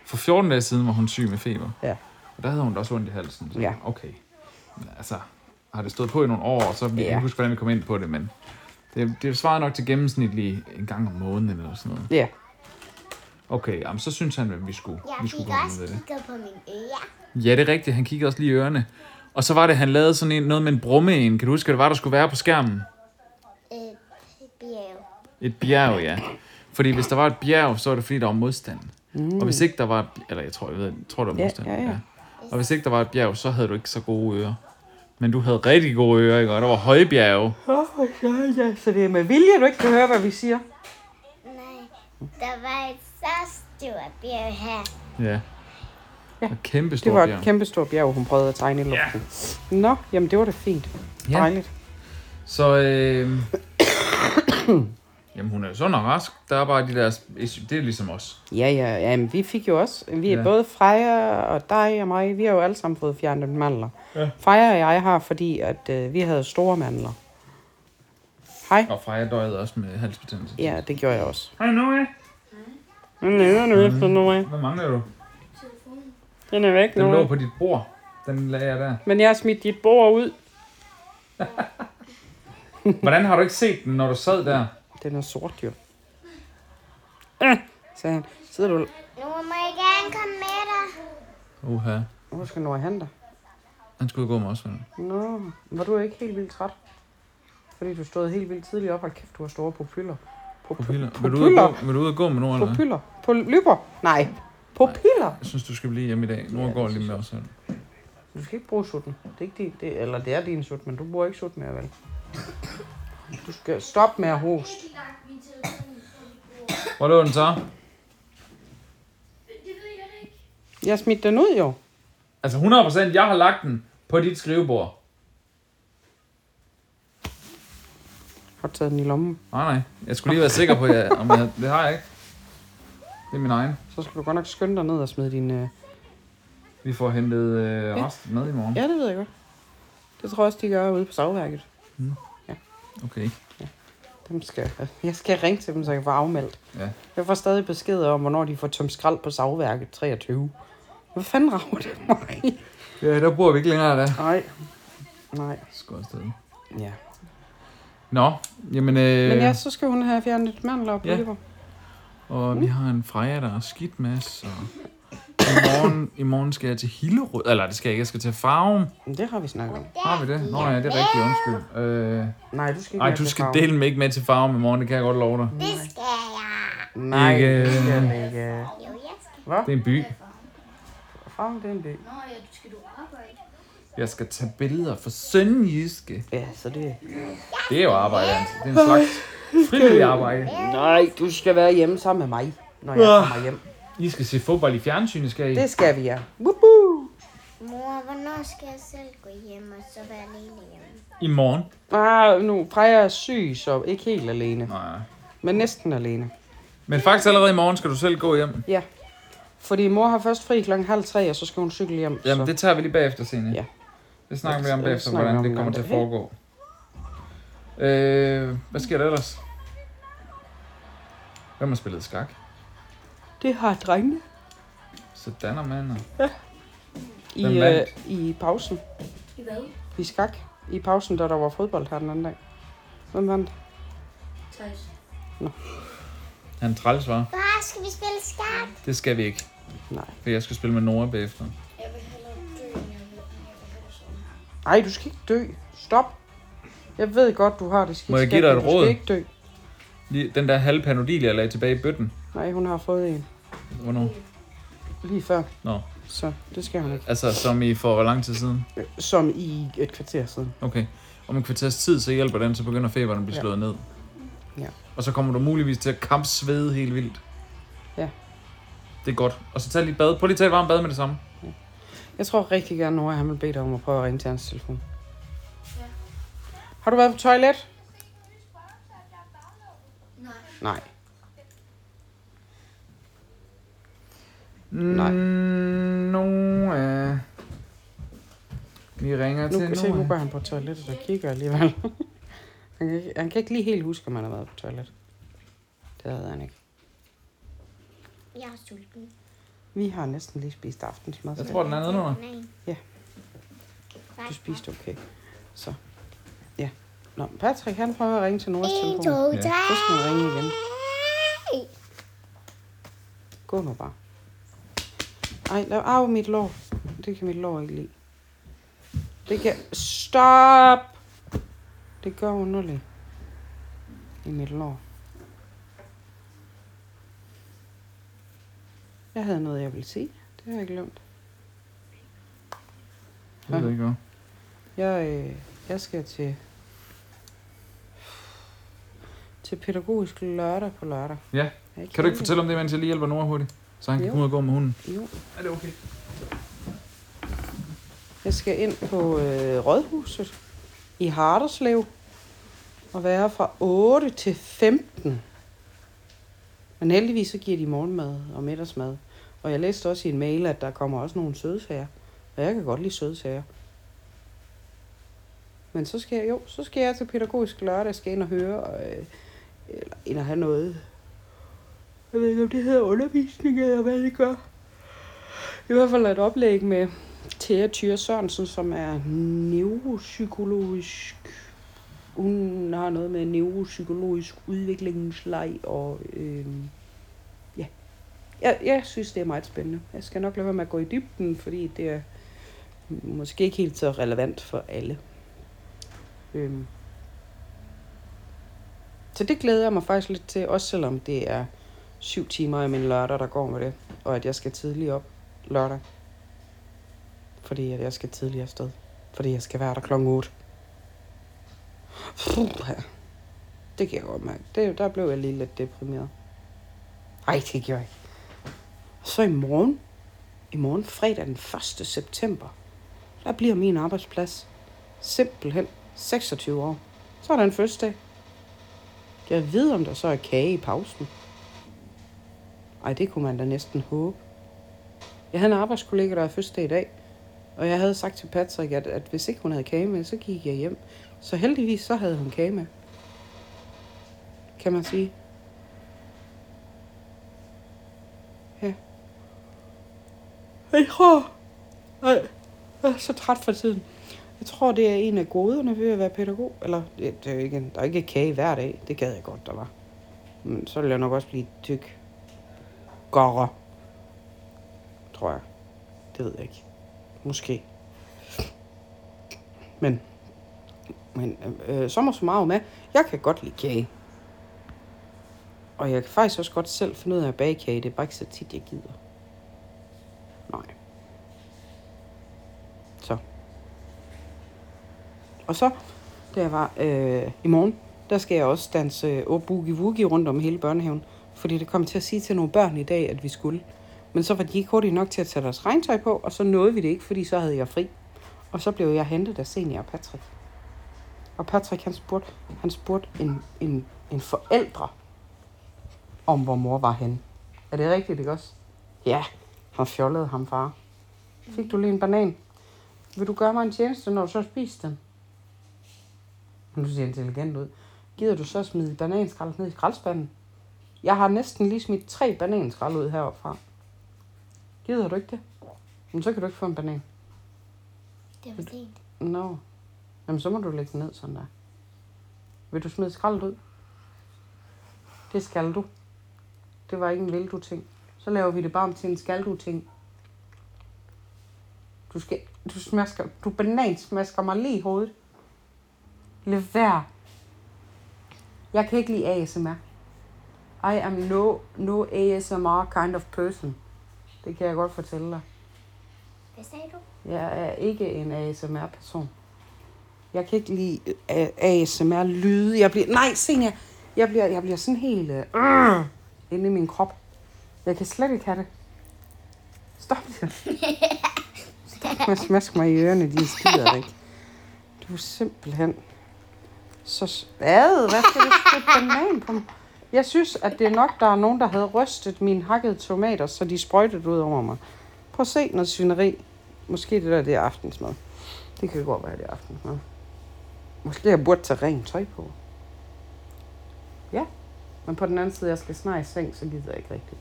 Speaker 3: For 14 dage siden var hun syg med feber.
Speaker 2: Ja.
Speaker 3: Og der havde hun da også ondt i halsen. Så
Speaker 2: Ja.
Speaker 3: okay. Men altså, har det stået på i nogle år, og så vi kan
Speaker 2: Ja.
Speaker 3: ikke huske, hvordan vi kom ind på det, men det, det svarer nok til gennemsnitlig en gang om måneden eller sådan noget.
Speaker 2: Ja.
Speaker 3: Okay, jamen, så synes han, at vi skulle,
Speaker 4: Jeg
Speaker 3: vi skulle
Speaker 4: fik
Speaker 3: gå
Speaker 4: også
Speaker 3: med det.
Speaker 4: kigget på mine ører.
Speaker 3: Ja, det er rigtigt. Han kiggede også lige i ørerne. Og så var det, han lavede sådan en, noget med en brumme en. Kan du huske, hvad det var, der skulle være på skærmen?
Speaker 4: Øh, bjerg.
Speaker 3: Et bjerg, ja. Fordi hvis der var et bjerg, så var det fordi, der var modstand. Mm. Og hvis ikke der var... et bj- Eller jeg tror, jeg ved, jeg tror der var
Speaker 2: Ja,
Speaker 3: modstand.
Speaker 2: ja, ja.
Speaker 3: Og hvis ikke der var et bjerg, så havde du ikke så gode ører. Men du havde rigtig gode ører, ikke? Og der var høje bjerge.
Speaker 2: Oh, ja. Så det er med vilje, du ikke kan høre, hvad vi siger.
Speaker 4: Nej, der var et så stort bjerg her.
Speaker 3: Ja. ja. Og kæmpe
Speaker 2: Det var
Speaker 3: store
Speaker 2: et
Speaker 3: bjerg.
Speaker 2: kæmpestort bjerg, hun prøvede at tegne i luften. Ja. Nå, jamen det var da fint.
Speaker 3: Ja.
Speaker 2: Dejligt.
Speaker 3: Så øh, øhm, Jamen, hun er jo sund og rask. Der er bare de der... Det er ligesom os.
Speaker 2: Ja, ja, ja, men vi fik jo også, vi er
Speaker 3: Ja.
Speaker 2: ja. både Freja og dig og mig, vi har jo alle sammen fået fjernet mandler. Ja. Freja og jeg har, fordi at øh, vi havde store mandler. Hej.
Speaker 3: Og Freja døjede også med halsbetændelse.
Speaker 2: Ja, det gjorde jeg også.
Speaker 5: Hej Noah.
Speaker 2: Den er
Speaker 3: Mhm.
Speaker 2: nu efter nu af.
Speaker 3: Hvad mangler du?
Speaker 2: Den er væk
Speaker 3: Den
Speaker 2: nu.
Speaker 3: lå
Speaker 2: af.
Speaker 3: på dit bord. Den lagde jeg der.
Speaker 2: Men jeg har smidt dit bord ud.
Speaker 3: Hvordan har du ikke set den, når du sad der?
Speaker 2: Den er sort jo. Ah, sagde han. Sidder du...
Speaker 4: Nu må jeg gerne komme med dig.
Speaker 3: Uha.
Speaker 2: Hvor skal Nora hente dig?
Speaker 3: Han skulle gå med os.
Speaker 2: Nå, var du ikke helt vildt træt? Fordi du stod helt vildt tidligt op. Hold kæft, du har store pupiller.
Speaker 3: Pupiller.
Speaker 2: Pup-
Speaker 3: Vil du, ud og
Speaker 2: Pupiller?
Speaker 3: gå, vil du ud og gå med Nora, eller hvad?
Speaker 2: Pupiller? Polypper? Nej. Pupiller?
Speaker 3: Jeg synes, du skal blive hjemme i dag. Nora går lige med os. her.
Speaker 2: Du skal ikke bruge sutten. Det er ikke din, det, eller det er din sut, men du bruger ikke sut mere, vel? Du skal stoppe med at hoste.
Speaker 3: Hvor lå den så?
Speaker 2: Jeg smidte den ud, jo.
Speaker 3: Altså 100%, jeg har lagt den på dit skrivebord.
Speaker 2: Har du taget den i lommen.
Speaker 3: Nej, nej. Jeg skulle lige være sikker på, at jeg, om jeg, det har jeg ikke. Det er min egen.
Speaker 2: Så skal du godt nok skynde dig ned og smide din... Øh...
Speaker 3: Vi får hentet øh, resten med i morgen.
Speaker 2: Ja, det ved jeg godt. Det tror jeg også, de gør ude på savværket.
Speaker 3: Okay.
Speaker 2: Dem skal... Jeg skal ringe til dem, så jeg kan få afmeldt.
Speaker 3: Ja.
Speaker 2: Jeg får stadig beskeder om, hvornår de får tømt skrald på savværket 23. Hvad fanden rager det mig?
Speaker 3: Ja, der bor vi ikke længere der.
Speaker 2: Nej. Nej.
Speaker 3: Skål afsted.
Speaker 2: Ja.
Speaker 3: Nå, jamen... Øh,
Speaker 2: Men ja, så skal hun have fjernet mandler og
Speaker 3: Ja.
Speaker 2: polypper.
Speaker 3: Og vi har en Freja, der er skidt med os, og i morgen, i morgen skal jeg til Hillerød. Eller det skal jeg ikke, jeg skal til Farum.
Speaker 2: Ja. Det har vi snakket om.
Speaker 3: Har vi det? Nå ja, det er rigtigt, undskyld. Øh,
Speaker 2: Nej, du skal ikke
Speaker 3: ej,
Speaker 2: med
Speaker 3: du
Speaker 2: til
Speaker 3: skal
Speaker 2: Farum.
Speaker 3: dele mig ikke med til Farum i morgen, det kan jeg godt love dig.
Speaker 4: Det skal jeg.
Speaker 2: Nej,
Speaker 3: Ikke,
Speaker 2: ikke...
Speaker 3: øh,
Speaker 2: Skal ikke.
Speaker 4: Jo, jeg skal.
Speaker 3: Det er en by.
Speaker 2: Farm, det er en by.
Speaker 3: Jeg skal tage billeder for sønderjyske.
Speaker 2: Ja, så det...
Speaker 3: Det er jo arbejde, altså. Det er en slags frivillig arbejde.
Speaker 2: Nej, du skal være hjemme sammen med mig, når jeg
Speaker 3: Ah.
Speaker 2: kommer hjem.
Speaker 3: I skal se fodbold i fjernsynet, skal I?
Speaker 2: Det skal vi, ja. Woohoo!
Speaker 4: Mor, hvornår skal jeg selv gå hjem og så være alene hjemme?
Speaker 3: I morgen.
Speaker 2: Ah, nu Freja er syg, så ikke helt alene.
Speaker 3: Nej.
Speaker 2: Men næsten alene.
Speaker 3: Men faktisk allerede i morgen skal du selv gå hjem.
Speaker 2: Ja. Fordi mor har først fri klokken halv tre, og så skal hun cykle hjem.
Speaker 3: Jamen,
Speaker 2: så.
Speaker 3: det tager vi lige bagefter, Signe.
Speaker 2: Ja.
Speaker 3: Det snakker vi om
Speaker 2: Det
Speaker 3: bagefter,
Speaker 2: snakker vi
Speaker 3: hvordan
Speaker 2: om
Speaker 3: det
Speaker 2: en
Speaker 3: kommer til at
Speaker 2: anden
Speaker 3: foregå. Øh, hvad sker der ellers? Hvem har spillet skak?
Speaker 2: det har drengene
Speaker 3: Sådan og mander.
Speaker 2: i,
Speaker 3: Hvem
Speaker 2: øh,
Speaker 3: vandt?
Speaker 2: i pausen. I hvad? I skak. I pausen, da der var fodbold her den anden dag. Hvem vandt?
Speaker 3: Han er træls, var.
Speaker 4: Far, skal vi spille skak?
Speaker 3: Det skal vi ikke,
Speaker 2: Nej.
Speaker 3: for jeg skal spille med Nora bagefter.
Speaker 2: Ej, du skal ikke dø. Stop. Jeg ved godt, du har det skidt.
Speaker 3: Må jeg
Speaker 2: skægt,
Speaker 3: give dig
Speaker 2: men
Speaker 3: et
Speaker 2: Du
Speaker 3: råd?
Speaker 2: skal ikke dø.
Speaker 3: Lige den der halve panodil, jeg lagde tilbage i bøtten.
Speaker 2: Nej, hun har fået en
Speaker 3: Hvornår?
Speaker 2: lige før.
Speaker 3: Nå,
Speaker 2: Så det skal hun ikke.
Speaker 3: altså som I for hvor lang tid siden?
Speaker 2: Som i et kvarter siden.
Speaker 3: Okay. Om en kvarters tid, så hjælper den, så begynder feberen at blive
Speaker 2: Ja.
Speaker 3: slået ned.
Speaker 2: Ja.
Speaker 3: Og så kommer du muligvis til at kampsvede helt vildt.
Speaker 2: Ja.
Speaker 3: Det er godt. Og så tag lige et bad. Prøv lige at tage et varmt bad med det samme.
Speaker 2: Jeg tror rigtig gerne, Nora, han vil bede dig om at prøve at ringe til hans telefon. Ja. Har du været på toilet? Nej. Nej. Nej.
Speaker 3: Mm, Noah. Vi ringer
Speaker 2: Nu,
Speaker 3: til
Speaker 2: se, nu
Speaker 3: Noah.
Speaker 2: går han på toilettet og kigger alligevel. han, kan ikke, han kan ikke lige helt huske, om han har været på toilet. Det havde han ikke.
Speaker 4: Jeg er sulten.
Speaker 2: Vi har næsten lige spist aftensmad.
Speaker 3: Jeg tror, den er nedenunder.
Speaker 4: Nej.
Speaker 2: Ja.
Speaker 4: Nej.
Speaker 2: Du spiste okay. Så. Ja. Nå, Patrick, han prøver at ringe til Noras
Speaker 4: En,
Speaker 2: telefon.
Speaker 4: to,
Speaker 3: Ja.
Speaker 4: tre.
Speaker 2: Så skal han ringe igen. Gå nu bare. Ej, lav af mit lår. Det kan mit lår ikke lide. Det kan... Stop! Det gør underligt. I mit lår. Jeg havde noget, jeg ville sige. Det har jeg glemt.
Speaker 3: Jeg ved ikke, hvad.
Speaker 2: Jeg, øh, jeg skal til... Til pædagogisk lørdag på lørdag.
Speaker 3: Ja.
Speaker 2: Jeg er
Speaker 3: Kan du ikke
Speaker 2: heldig.
Speaker 3: fortælle om det, mens jeg lige hjælper Nora hurtigt? Så han kan
Speaker 2: Jo.
Speaker 3: komme ud og gå med hunden.
Speaker 2: Jo.
Speaker 3: Er det okay?
Speaker 2: Jeg skal ind på øh, Rådhuset i Harderslev at være fra 8 til 15. Men heldigvis så giver de morgenmad og middagsmad. Og jeg læste også i en mail, at der kommer også nogle sødsager. Og jeg kan godt lide sødsager. Men så skal jeg, jo, så skal jeg til pædagogisk lørdag, skal ind og høre, øh, eller ind og have noget. Jeg ved ikke, om det hedder undervisning, eller hvad det gør. I hvert fald et oplæg med Thea Thyre Sørensen, som er neuropsykologisk. Hun har noget med neuropsykologisk udviklingsleg og... Øh, ja. Jeg, jeg synes, det er meget spændende. Jeg skal nok lade være med at gå i dybden, fordi det er måske ikke helt så relevant for alle. Øhm. Så det glæder jeg mig faktisk lidt til, også selvom det er syv timer i min lørdag, der går med det, og at jeg skal tidligt op lørdag. Fordi at jeg skal tidligere afsted. Fordi jeg skal være der klokken 8. Puh, det kan jeg godt mærke. Det, der blev jeg lige lidt deprimeret. Ej, det gjorde jeg ikke. Så i morgen, i morgen fredag den 1. september, der bliver min arbejdsplads simpelthen 26 år. Så er der en fødselsdag. Jeg ved, om der så er kage i pausen. Ej, det kunne man da næsten håbe. Jeg havde en arbejdskollega, der havde fødselsdag i dag, og jeg havde sagt til Patrick, at, at hvis ikke hun havde kage med, så gik jeg hjem. Så heldigvis så havde hun kage med. Kan man sige. Ja. Jeg tror... Ej, jeg er så træt for tiden. Jeg tror, det er en af goderne ved at være pædagog. Eller, det, det er jo ikke, en- der er ikke kage hver dag. Det gad jeg godt, der var. Men så ville jeg nok også blive tyk. Gorre. Tror jeg. Det ved jeg ikke. Måske. Men, men øh, øh, sommer som meget med. Jeg kan godt lide kage. Og jeg kan faktisk også godt selv finde ud af at bage kage. Det er bare ikke så tit, jeg gider. Nej. Så. Og så, da jeg var øh, i morgen, der skal jeg også danse boogie woogie rundt om hele børnehaven. Fordi det kom til at sige til nogle børn i dag, at vi skulle. Men så var de ikke hurtige nok til at tage deres regntøj på, og så nåede vi det ikke, fordi så havde jeg fri. Og så blev jeg hentet af senior og Patrick. Og Patrick, han spurgte, han spurgte en, en, en forældre, om hvor mor var henne. Er det rigtigt, ikke også? Ja, han fjollede ham, far. Fik du lige en banan? Vil du gøre mig en tjeneste, når du så har spist den? Nu ser intelligent ud. Gider du så smide bananskrald ned i skraldespanden? Jeg har næsten lige smidt tre bananskrald ud heroppe fra. Gider du ikke det? Men så kan du ikke få en banan.
Speaker 4: Det var fint.
Speaker 2: Nå. No. Jamen, så må du lægge den ned sådan der. Vil du smide skraldet ud? Det skal du. Det var ikke en vil du ting. Så laver vi det bare om til en skal du ting. Du skal, du smasker, du banansmasker mig lige i hovedet. Lad være. Jeg kan ikke lide ASMR. I am no, no ASMR kind of person. Det kan jeg godt fortælle dig.
Speaker 4: Hvad sagde du?
Speaker 2: Jeg er ikke en ASMR-person. Jeg kan ikke lide øh, ASMR-lyde. Jeg bliver... Nej, Senja! Jeg bliver, jeg bliver sådan helt... Øh, øh, inde i min krop. Jeg kan slet ikke have det. Stop det. Stop med at smaske mig i ørerne, de skider ikke. Du er simpelthen... Så... s- Ad, hvad skal du spytte banan på mig? Jeg synes, at det er nok, der er nogen, der havde rystet mine hakkede tomater, så de sprøjtede ud over mig. Prøv at se noget svineri. Måske det der, det er aftensmad. Det kan godt være, det er aftensmad. Måske jeg burde tage rent tøj på. Ja, men på den anden side, jeg skal snart i seng, så gider jeg ikke rigtigt.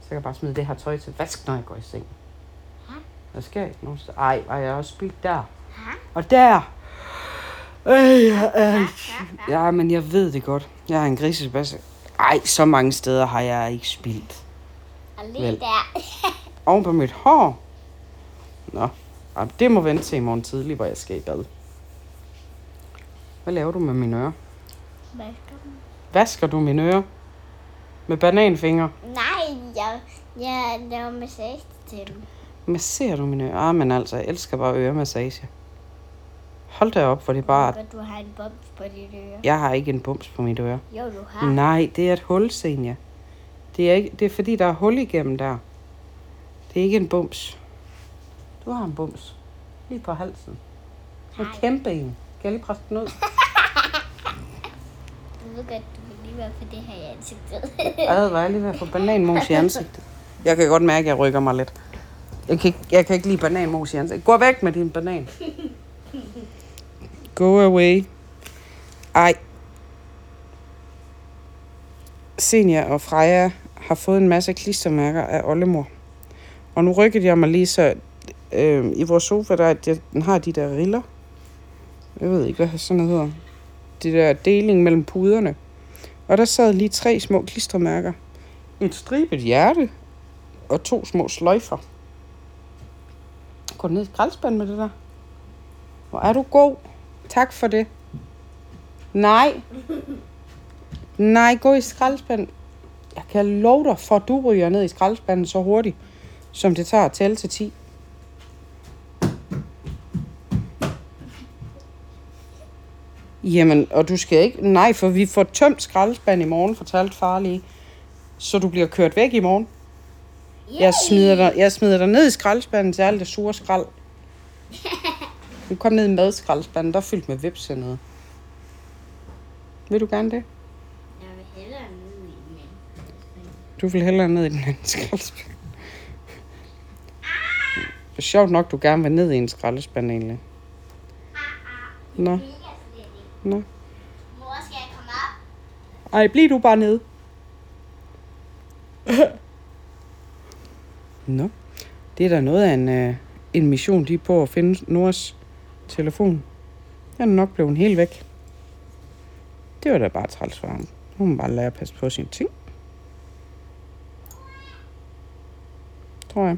Speaker 2: Så kan jeg bare smide det her tøj til vask, når jeg går i seng. Der skal ikke nogen sted. Ej, og jeg har også spildt der. Og der. Øh, jeg er... Ja, men jeg ved det godt. Jeg er en grisebasse. Ej, så mange steder har jeg ikke spildt.
Speaker 4: Og lige
Speaker 2: Vel.
Speaker 4: der.
Speaker 2: Oven på mit hår. Nå, ej, det må vente til i morgen tidlig, hvor jeg skal i bad. Hvad laver du med mine ører?
Speaker 4: Hvad skal du?
Speaker 2: Vasker du mine ører? Med bananfinger?
Speaker 4: Nej, jeg, jeg laver massage til dem.
Speaker 2: Masserer du mine ører? Ah, men altså, jeg elsker bare øremassage. Hold da op, for det er bare...
Speaker 4: Men du har en boms på dit øre.
Speaker 2: Jeg har ikke en bums på mit øre.
Speaker 4: Jo, du har.
Speaker 2: Nej, det er et hul, Senja. Det er, ikke, det er fordi, der er hul igennem der. Det er ikke en bums. Du har en bums. Lige på halsen. En kæmpe en. Kan jeg lige presse den ud?
Speaker 4: ved godt, du vil lige være på det her i ansigtet.
Speaker 2: Ad, hvor er jeg lige ved at få bananmos i ansigtet. Jeg kan godt mærke, at jeg rykker mig lidt. Jeg kan ikke, jeg kan ikke lide bananmos i ansigtet. Gå væk med din banan. Go away. Ej. Senior og Freja har fået en masse klistermærker af oldemor. Og nu rykkede jeg mig lige så øh, i vores sofa, der at jeg, den har de der riller. Jeg ved ikke, hvad sådan noget hedder. Det der deling mellem puderne. Og der sad lige tre små klistermærker. Et stribet hjerte og to små sløjfer. Gå ned i skraldespanden med det der. Hvor er du god. Tak for det. Nej. Nej, gå i skraldespanden. Jeg kan love dig, for at du ryger ned i skraldespanden så hurtigt, som det tager at tælle til 10. Jamen, og du skal ikke... Nej, for vi får tømt skraldespand i morgen, fortalte far lige. Så du bliver kørt væk i morgen. Jeg smider dig, jeg smider dig ned i skraldespanden til alt det sure skrald. Du kom ned i madskraldespanden, der er fyldt med vips hernede. Vil du gerne det?
Speaker 4: Jeg vil hellere ned i den.
Speaker 2: Du vil hellere ned i den anden skraldespand. Det er sjovt nok, du gerne vil ned i en skraldespand egentlig. Nå,
Speaker 4: Mega slet ikke.
Speaker 2: nå.
Speaker 4: Mor, skal jeg komme op?
Speaker 2: Ej, bliv du bare nede. Nå, det er da noget af en, øh, en mission, de er på at finde Noras telefon. Den er nok blevet helt væk. Det var da bare træls for ham. Hun må bare lære at passe på sine ting. Tror jeg.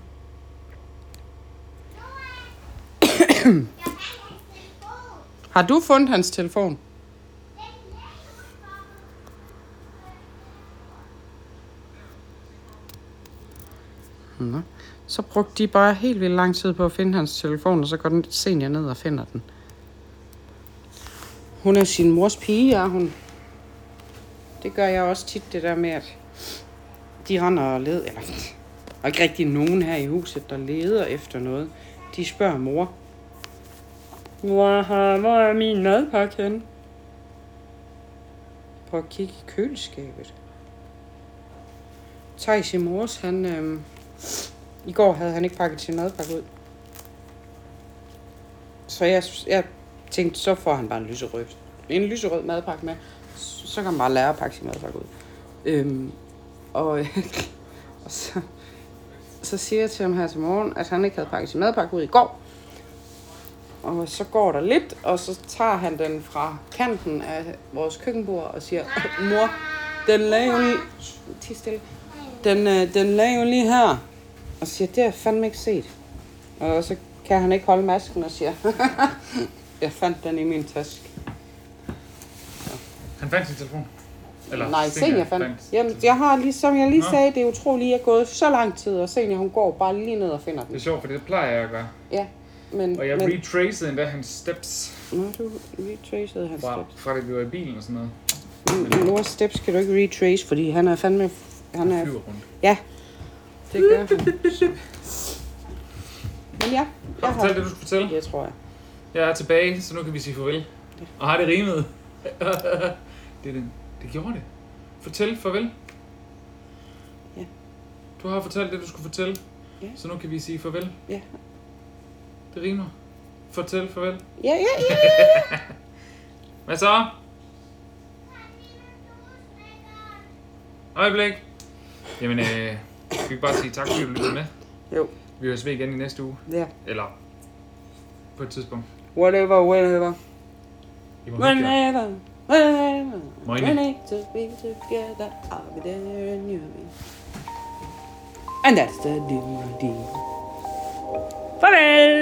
Speaker 2: Har du fundet hans telefon? Nå. Så brugte de bare helt vildt lang tid på at finde hans telefon, og så går den senior ned og finder den. Hun er sin mors pige, er hun. Det gør jeg også tit, det der med, at de render og leder, eller og ikke rigtig nogen her i huset, der leder efter noget. De spørger mor. Mor, har- hvor er min madpakke henne? Prøv at kigge i køleskabet. Thijs i mors, han, øhm, i går havde han ikke pakket sin madpakke ud. Så jeg, jeg tænkte, så får han bare en lyserød, en lyserød madpakke med. Så, så kan han bare lære at pakke sin madpakke ud. Øhm, og, og så, så siger jeg til ham her til morgen, at han ikke havde pakket sin madpakke ud i går. Og så går der lidt, og så tager han den fra kanten af vores køkkenbord og siger, mor, den lagde jo lige... Ti stille. Den, øh, den lagde jo lige her. Og siger, det har jeg fandme ikke set. Og så kan han ikke holde masken og siger, jeg fandt den i min taske.
Speaker 5: Han fandt sin telefon.
Speaker 2: Eller Nej, senior fandt. Jamen, jeg har lige, som jeg lige
Speaker 5: Nå.
Speaker 2: sagde, det er utroligt, jeg er gået så lang tid, og senior hun går bare lige ned og finder
Speaker 3: Det er
Speaker 2: den.
Speaker 3: sjovt, for det plejer jeg at gøre.
Speaker 2: Ja, men,
Speaker 3: Og jeg
Speaker 2: men
Speaker 3: retracede endda hans steps
Speaker 2: nu har du retraced hans
Speaker 3: fra,
Speaker 2: steps.
Speaker 3: fra det vi var i bilen og sådan noget.
Speaker 2: Men Noras steps kan du ikke retrace, fordi han er fandme... Han
Speaker 3: Han
Speaker 2: er,
Speaker 3: flyver rundt.
Speaker 2: ja, det gør han. Men ja,
Speaker 3: Har
Speaker 2: jeg
Speaker 3: du fortalt
Speaker 2: har...
Speaker 3: det, du skulle fortælle?
Speaker 2: Jeg tror jeg.
Speaker 3: Jeg er tilbage, så nu kan vi sige farvel. Og har det rimet? det, er den. det gjorde det. Fortæl farvel.
Speaker 2: Ja.
Speaker 3: Du har fortalt det, du skulle fortælle.
Speaker 2: Ja.
Speaker 3: Så nu kan vi sige farvel.
Speaker 2: Ja.
Speaker 3: Det rimer. Fortæl farvel.
Speaker 2: Ja, ja, ja.
Speaker 3: Hvad så? Øjeblik. Jamen, øh, skal vi ikke bare sige tak, fordi du lyttede med?
Speaker 2: Jo,
Speaker 3: Vi høres ved igen i næste uge.
Speaker 2: ja.
Speaker 3: Eller på et tidspunkt.
Speaker 2: Whatever, whatever.
Speaker 3: I må hygge jer.
Speaker 2: Whenever, whenever,
Speaker 3: Moine.
Speaker 2: we need to be together, I'll be there and you'll be. And that's the DVD. Farvel!